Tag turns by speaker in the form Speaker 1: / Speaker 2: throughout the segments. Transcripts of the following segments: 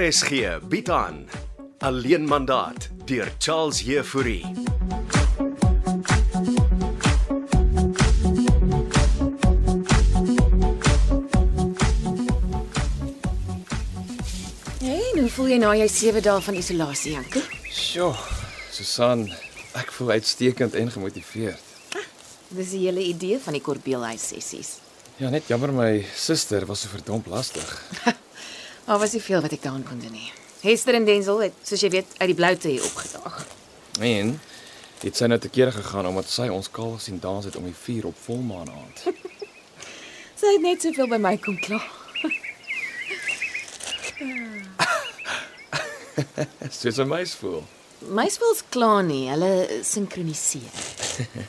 Speaker 1: RSG bied aan Alleen mandaat deur Charles Heffouri.
Speaker 2: Hey, hoe voel jy na jy 7 dae van isolasie, Jankie?
Speaker 3: Sjoe, Susan, ek voel uitstekend en gemotiveerd.
Speaker 2: Dis die hele idee van die korbeelhuis sessies.
Speaker 3: Ja, net jammer my suster was so verdomp lastig.
Speaker 2: Daar was nie veel wat ek daaraan kon doen nie. Hester en Denzel het, soos jy weet, uit die bloute hier opgedaag.
Speaker 3: En dit sy nou te kere gegaan omdat sy ons kaal sien dans het om die vuur op volmaan aand.
Speaker 2: Sy het net soveel by my kom kla.
Speaker 3: Soos 'n mens voel.
Speaker 2: My spel's klaar nie, hulle sinkroniseer.
Speaker 3: Maar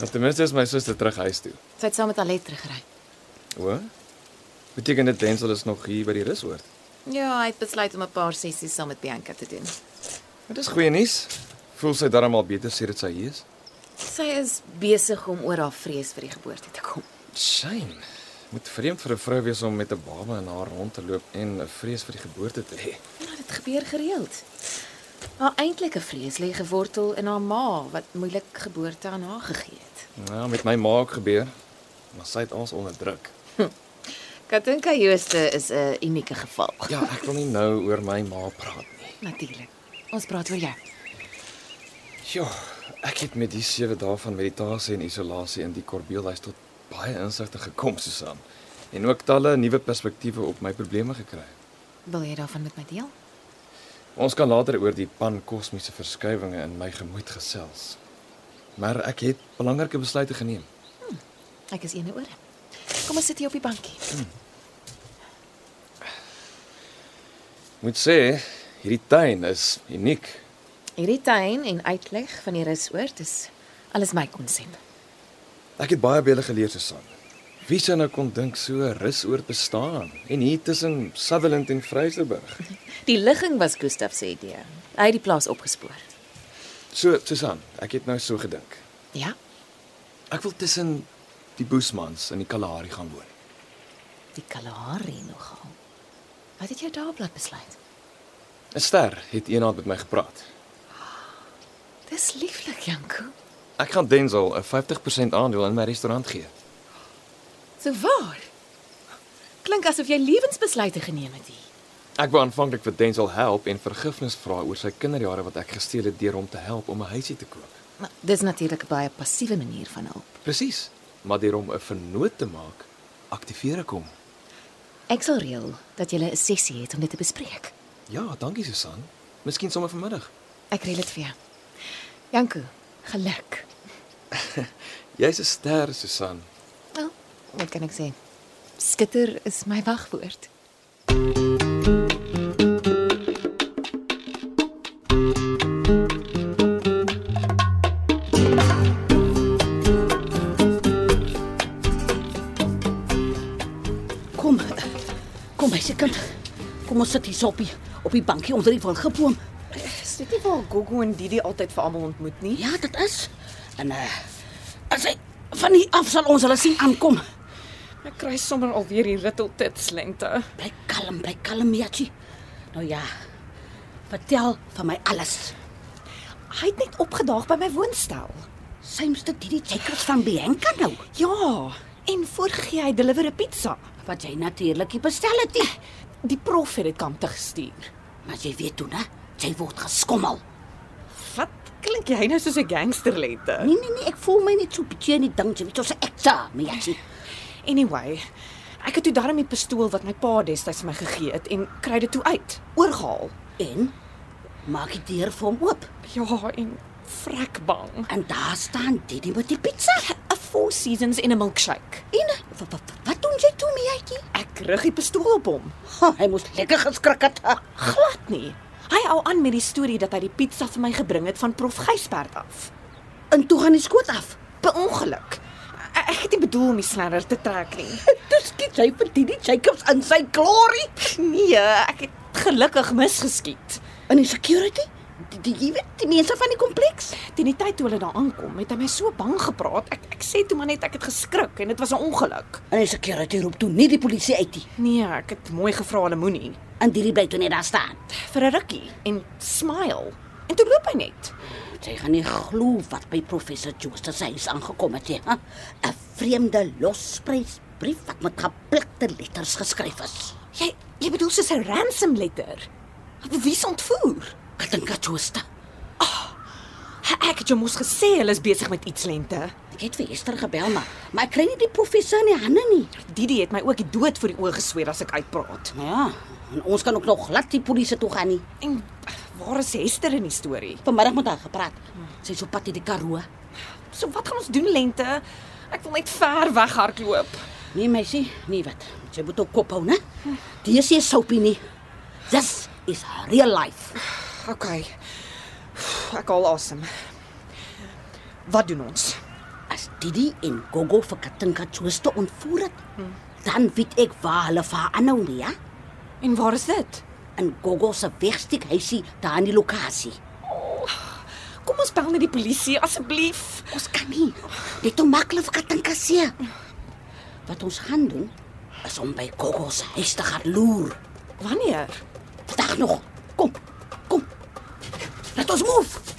Speaker 3: Nou, ten minste is my suster terug huis toe.
Speaker 2: Sy het saam met Alet teruggery.
Speaker 3: O? Beteken dit Denzel is nog hier by die rusoord?
Speaker 2: Ja, hy het besluit om 'n paar sessies saam met Bianca te doen.
Speaker 3: Dit is goeie nuus. Voel sy darm al beter sedert sy hier is?
Speaker 2: Sy is besig om oor haar vrees vir die geboorte te kom.
Speaker 3: Shame. Moet vreemd vir 'n vrou wees om met 'n baba in haar rond te loop en 'n vrees vir die geboorte te hê.
Speaker 2: Ja, dit gebeur gereeld. Haar eintlike vrees lê gewortel in haar ma wat moeilik geboorte aan haar gegee het.
Speaker 3: Ja, met my ma ook gebeur, maar sy het ons onder druk.
Speaker 2: Katinka Jooste is 'n unieke geval.
Speaker 3: Ja, ek wil nie nou oor my ma praat nie.
Speaker 2: Natuurlik. Ons praat oor jou.
Speaker 3: Ja, ek het met die 7 dae van meditasie en isolasie in die Korbeelhuis tot baie insigte gekom, Susan. En ook talle nuwe perspektiewe op my probleme gekry.
Speaker 2: Wil jy daarvan met my deel?
Speaker 3: Ons kan later oor die pankosmiese verskuiwinge in my gemoed gesels. Maar ek het belangrike besluite geneem.
Speaker 2: Ek is eene ore. Kom ons sit hier op die bankie.
Speaker 3: Moet sê, hierdie tuin is uniek.
Speaker 2: Hierdie tuin en uitleg van die rusoord is alles my konsep.
Speaker 3: Ek het baie beelde geleer, Susan. Wie sou nou kon dink so 'n rus oor bestaan en hier tussen Sutherland en Vryseburg?
Speaker 2: Die ligging was Gustaf se idee. Hy het die plaas opgespoor.
Speaker 3: So, Susan, ek het nou so gedink.
Speaker 2: Ja,
Speaker 3: Ek wil tussen die Boesmans en die Kalahari gaan woon.
Speaker 2: die Kalahari nogal. Wat het jy daarop laat besluit?
Speaker 3: 'n Ster het eendag met my gepraat.
Speaker 2: Dis lieflik, Janko.
Speaker 3: Ek gaan Denzel 'n 50% aandeel in my restaurant gee.
Speaker 2: So waar? Klink asof jy lewensbesluite geneem het hier.
Speaker 3: Ek wou aanvanklik vir Denzel help en vergifnis vra oor sy kinderjare wat ek gesteel het deur hom te help om 'n huisie te koop.
Speaker 2: Maar dis natuurlik 'n baie passiewe manier van hulp.
Speaker 3: Presies, maar deur hom 'n vernoot te maak, aktiveer ek hom.
Speaker 2: Ek sal reël dat jy 'n sessie het om dit te bespreek.
Speaker 3: Ja, dankie Susan. Miskien sommer vanmiddag.
Speaker 2: Ek reël dit vir jou. Janko, geluk.
Speaker 3: Jy's 'n ster, Susan.
Speaker 2: Wel, wat kan ek sê? Skitter is my wagwoord.
Speaker 4: Kom. Kom my se kind. Kom ons sit hier so op die op die bankie onder die wilgeboom.
Speaker 5: Is dit nie waar Gogo en Didi altyd vir almal ontmoet nie?
Speaker 4: Ja, dit is. En eh uh, as hy van hier af sal ons hulle sien aankom.
Speaker 5: Ek kry sommer alweer die ritteltits lente.
Speaker 4: Bly kalm, bly kalm, Miachi. Nou ja. Vertel van my alles.
Speaker 5: Hy het net opgedaag by my woonstel.
Speaker 4: Symste Didi Jacobs van Bianca nou.
Speaker 5: Ja, en voorgee hy deliver 'n pizza.
Speaker 4: Wat jy natuurlik nie bestel het nie.
Speaker 5: Die prof het dit kamp te gestuur.
Speaker 4: Maar jy weet toe, né? Jy word geskommel.
Speaker 5: Wat klink jy nou soos 'n gangsterlente?
Speaker 4: Nee nee nee, ek voel my net so bietjie in die ding, jy weet, soos 'n ekta, Miachi.
Speaker 5: Anyway, ek het toe darm die pistool wat my pa destyds vir my gegee het en kry dit toe uit, oorgehaal.
Speaker 4: En maak die deur vir hom oop.
Speaker 5: Ja, en vrek bang.
Speaker 4: En daar staan Didi met die pizza.
Speaker 5: 'n Four seasons in 'n milkshake.
Speaker 4: En wat, wat, wat doen jy toe, meetjie?
Speaker 5: Ek rig die pistool op hom.
Speaker 4: Oh, hy moes lekker geskrik het. Ah,
Speaker 5: Glad nie. Hy hou aan met die storie dat hy die pizza vir my gebring het van prof Gysbert af.
Speaker 4: En toe gaan die skoot af.
Speaker 5: Per ongeluk. E- Ek het nie bedoel om die snerrer te trek nie.
Speaker 4: Dis skiet hy vir Didi Jacobs in sy glory.
Speaker 5: Nee, ek het gelukkig misgeskiet.
Speaker 4: En die security? Die, die, jy weet, die mense van die kompleks.
Speaker 5: Teen die tyd toe hulle daar aankom, het hy my so bang gepraat. Ek ek sê toe maar net ek het geskrik en dit was 'n ongeluk.
Speaker 4: En die security roep toe nie die polisie uit nie.
Speaker 5: Nee, ek het mooi gevra hulle moenie.
Speaker 4: En Diri bly toe net daar staan.
Speaker 5: vir 'n rukkie en smile. En toe loop hy net.
Speaker 4: Sy gaan nie glo wat by professor Joost se huis aangekom het nie. hè? 'n Vreemde losprysbrief wat met geplikte letters geskryf is.
Speaker 5: Jy jy bedoel soos 'n ransom letter. Wie se ontvoer?
Speaker 4: Ek dink dat Joost
Speaker 5: Ek het jou mos gesê hulle is besig met iets lente.
Speaker 4: Ek het vir Esther gebel maar, maar ek kry nie die professor in die hande nie.
Speaker 5: Didi het my ook die dood voor die oë gesweer as ek uitpraat.
Speaker 4: Nou ja, en ons kan ook nog glad die polisie toe gaan nie.
Speaker 5: En waar is Hester in die storie?
Speaker 4: Vanmiddag met haar gepraat. Sy is op pad uit die Karoo.
Speaker 5: So wat gaan ons doen lente? Ek wil net ver weghardloop.
Speaker 4: Nee meisie, nee wat. Jy moet ook kop hou, né? Dis nie soapie nie. This is real life.
Speaker 5: OK. Ek al asem. Wat doen ons?
Speaker 4: As Didi en Gogo vir Katinka Jooste ontvoer het, dan weet ek waar hulle vir haar aanhou nie, ja?
Speaker 5: En waar is dit?
Speaker 4: In Gogo se wegsteek huisie daar aan die lokasie.
Speaker 5: Kom ons bel net die polisie asseblief.
Speaker 4: Ons kan nie. Dit is maklik vir Katinka se. Wat ons gaan doen is om by Gogo se huis te gaan loer.
Speaker 5: Wanneer?
Speaker 4: Vandag nog. Kom. Kom. Laat ons move.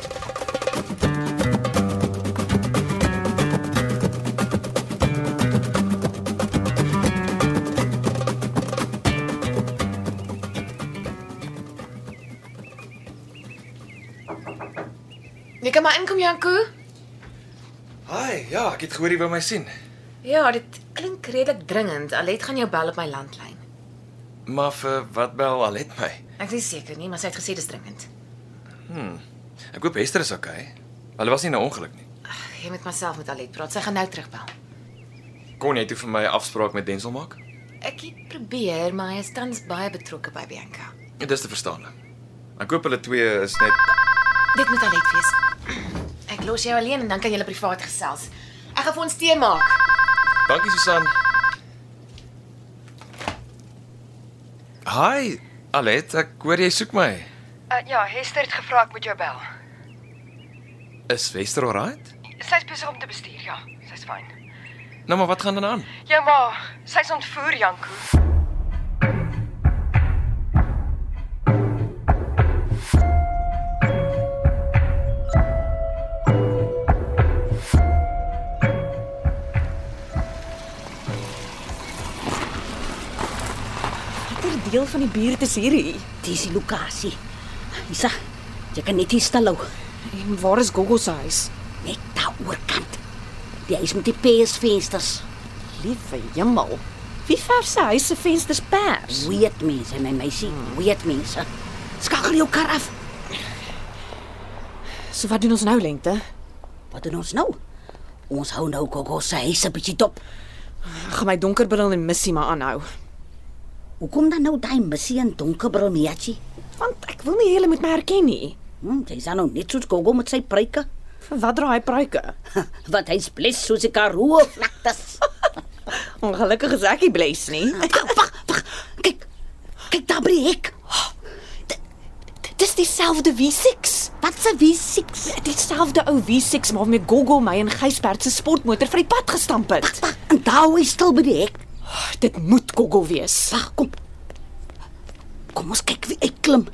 Speaker 5: Jy kan maar inkom Janko.
Speaker 3: Hi, ja, ek het gehoor jy wou my sien.
Speaker 5: Ja, dit klink redelik dringend. Alet gaan jou bel op my landlyn.
Speaker 3: Maar vir wat bel Alet my?
Speaker 5: Ek is seker nie, maar sy het gesê dis dringend.
Speaker 3: Ek hoop Hester is okay. Hulle was nie in 'n ongeluk nie.
Speaker 5: Jy moet myself met Alet praat. Sy gaan nou terugbel.
Speaker 3: Kon jy toe vir my 'n afspraak met Denzel maak?
Speaker 5: Ek het probeer, maar hy is tans baie betrokke by Bianca.
Speaker 3: Dit is Ja, te verstaan. Ek hoop hulle twee is net
Speaker 5: Dit moet Alet wees. Ek los jou alleen en dan kan julle privaat gesels. Ek gaan vir ons tee maak.
Speaker 3: Dankie Susan. Hi, Alet, ek hoor jy soek my.
Speaker 6: Uh, ja, Hester het gevra ek moet jou bel.
Speaker 3: Is Wester alright?
Speaker 6: Sy's besig om te bestuur, ja. Sy's fyn.
Speaker 3: Nou maar wat gaan dan aan?
Speaker 6: Jou ma, sy's ontvoer, Janko.
Speaker 5: Watter deel van die buurt is hierdie?
Speaker 4: Dis die lokasie. Isa, jy kan net hier stilhou.
Speaker 5: En waar is Gogo se huis?
Speaker 4: Net daaroor kant. Die huis met die persvensters.
Speaker 5: Liewe hemel. Wie verf sy huis se vensters pers?
Speaker 4: Weet mense, my meisie, weet mense. Skakel jou kar af.
Speaker 5: So wat doen ons nou lente?
Speaker 4: Wat doen ons nou? Ons hou nou Gogo se huis 'n bietjie dop.
Speaker 5: Ek gaan my donkerbril en missie maar aanhou,
Speaker 4: Hoekom dan nou daai missie en donkerbril meetjie?
Speaker 5: want ek wil nie hulle moet my herken nie.
Speaker 4: Hm, sy is dan nou net soos Gogo met sy pruike.
Speaker 5: Vir wat dra hy pruike?
Speaker 4: Wat hy's bles soos 'n karoo vlaktes.
Speaker 5: Ongelukkig is ek nie bles nie.
Speaker 4: Wag, wag, wag. Kyk. Kyk daar by die hek.
Speaker 5: Dis dieselfde V6.
Speaker 4: Wat se W6?
Speaker 5: Dieselfde ou V6 waarmee Gogo my en Gysbert se sportmotor vir die pad gestamp het.
Speaker 4: Wag, en daar hoe hy stil by die hek.
Speaker 5: Dit moet Gogo wees.
Speaker 4: Wag, kom. Kom ons kyk wie uitklim.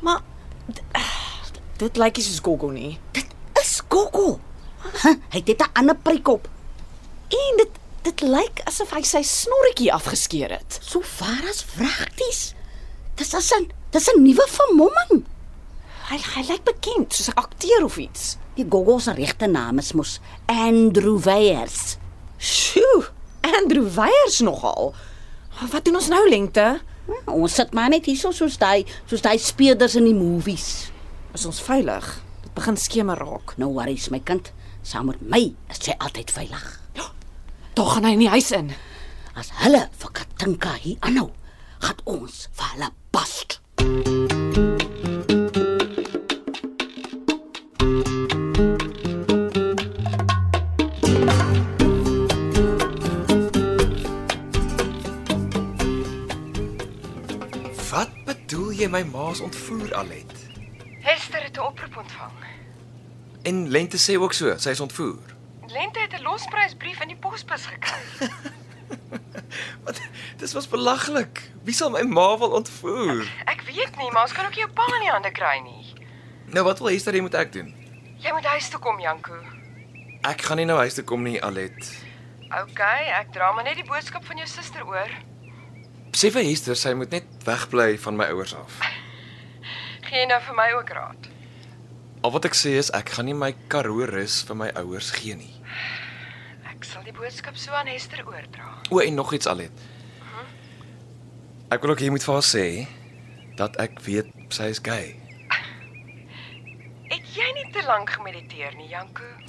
Speaker 5: Maar d- eh, dit lyk nie soos Gogo nie.
Speaker 4: Dit is Gogo. Huh, hy het 'n ander prik op.
Speaker 5: En dit dit lyk asof hy sy snorretjie afgeskeer het.
Speaker 4: So ver as vragties. Dis as 'n dis 'n nuwe vermomming.
Speaker 5: Hy hy lyk bekend soos 'n akteur of iets.
Speaker 4: Die Gogo se regte naam is mos Andrew Weyers.
Speaker 5: Sjoe, Andrew Weyers nogal. Wat doen ons nou lengte?
Speaker 4: Hm, Ons sit maar net hierso soos daai soos daai speerders in die movies.
Speaker 5: Is ons veilig? Dit begin skemer raak.
Speaker 4: No worries Nou my kind, saam met my is jy altyd veilig.
Speaker 5: Daar gaan hy in die huis in.
Speaker 4: As hulle vir Katinka hier aanhou, gaan ons vir hulle bast.
Speaker 3: Wat bedoel jy my ma's ontvoer Alet?
Speaker 6: Hester het 'n oproep ontvang.
Speaker 3: En Lente sê ook so, sy is ontvoer.
Speaker 6: Lente het 'n losprysbrief in die posbus gekry.
Speaker 3: Wat? Dis was belaglik. Wie sal my ma wil ontvoer?
Speaker 6: Ek weet nie, maar ons kan ook jou pa in die hande kry nie.
Speaker 3: Nou wat wil Hester hê moet ek doen?
Speaker 6: Jy moet huis toe kom, Janko.
Speaker 3: Ek gaan nie nou huis toe kom nie, Alet.
Speaker 6: OK, ek dra maar net die boodskap van jou suster oor.
Speaker 3: Sê vir Hester sy moet net wegbly van my ouers af.
Speaker 6: Gee jy nou vir my ook raad.
Speaker 3: Al wat ek sê is ek gaan nie my Karoo rus vir my ouers gee nie.
Speaker 6: Ek sal die boodskap so aan Hester oordra.
Speaker 3: O, en nog iets Alet. Ek wil ook jy moet vir haar sê dat ek weet sy is gay.
Speaker 6: Het jy nie te lank gemediteer nie, Janko?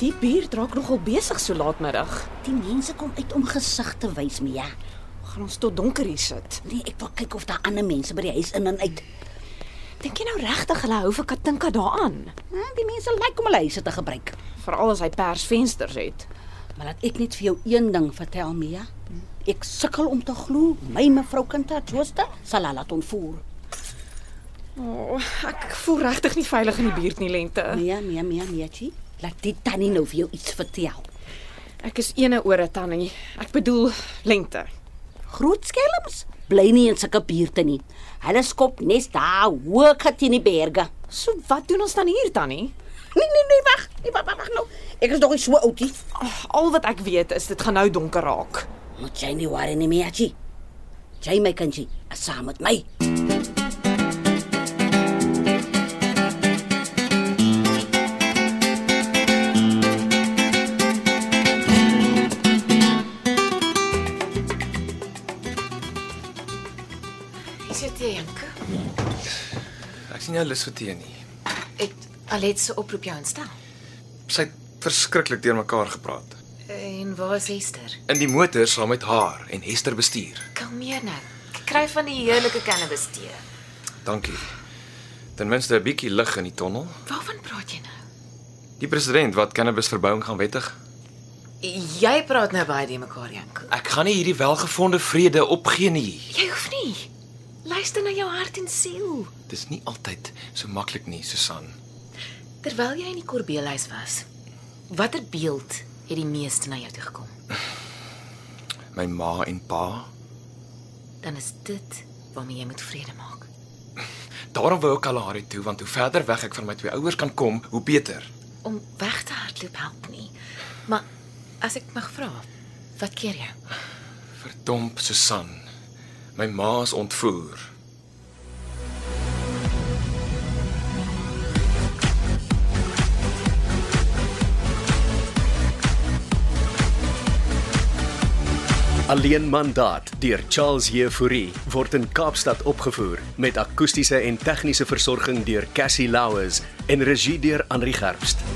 Speaker 5: Die buurt raak nogal besig so laatmiddag.
Speaker 4: Die mense kom uit om gesig te wys, Mia.
Speaker 5: Gaan ons tot donker hier sit.
Speaker 4: Nee, ek wil kyk of daar ander mense by die huis in en uit.
Speaker 5: Dink jy nou regtig hulle hou vir Katinka daaraan?
Speaker 4: Hm, die mense lyk om hulle huise te gebruik.
Speaker 5: Veral as hy persvensters het.
Speaker 4: Maar laat ek net vir jou een ding vertel, Mia. Ek sukkel om te glo my mevrou Kinta Jooste sal haar laat ontvoer.
Speaker 5: O, oh, ek voel regtig nie veilig in die buurt nie, Lente.
Speaker 4: Mia, Mia, Mia, Miachi, laat die tannie nou vir jou iets vertel.
Speaker 5: Ek is ene ore tannie. Ek bedoel Lente.
Speaker 4: Groot skelms bly nie in sulke buurte nie. Hulle skop nes daar hoog teen die berge.
Speaker 5: So wat doen ons dan hier tannie?
Speaker 4: Nee, nee, nee, wag. Nee, wag, wag, wag nou. Ek is nog nie so oud nie.
Speaker 5: Oh, al wat ek weet is dit gaan nou donker raak.
Speaker 4: Moet jy nie worry nie, Miachi. Jy my kindjie, is saam met my.
Speaker 2: Is dit jy, Janko?
Speaker 3: Ek sien jou lus vir tee nie.
Speaker 2: Het Alet se oproep jou instel?
Speaker 3: Sy het verskriklik deurmekaar gepraat.
Speaker 2: En waar is Hester?
Speaker 3: In die motor saam met haar en Hester bestuur.
Speaker 2: Kalmeer nou. Ek kry van die heerlike cannabis tee.
Speaker 3: Dankie. Ten minste 'n bietjie lig in die tonnel.
Speaker 2: Waarvan praat jy nou?
Speaker 3: Die president wat cannabis verbouing gaan wettig.
Speaker 2: Jy praat nou baie die mekaar, Janko.
Speaker 3: Ek gaan nie hierdie welgevonde vrede opgee nie.
Speaker 2: Jy hoef nie. Luister na jou hart en siel.
Speaker 3: Dis nie altyd so maklik nie, Susan.
Speaker 2: Terwyl jy in die korbeelhuis was, watter beeld het die meeste na jou toe gekom?
Speaker 3: My ma en pa.
Speaker 2: Dan is dit waarmee jy moet vrede maak.
Speaker 3: Daarom wou ek Kalahari toe want hoe verder weg ek van my twee ouers kan kom, hoe beter.
Speaker 2: Om weg te hardloop help nie. Maar as ek mag vra, wat keer jou?
Speaker 3: Verdomp, Susan. My ma is ontvoer.
Speaker 1: Alleen mandaat deur Charles Jefouri word in Kaapstad opgevoer met akoestiese en tegniese versorging deur Cassie Louws en regie deur Henri Gerst.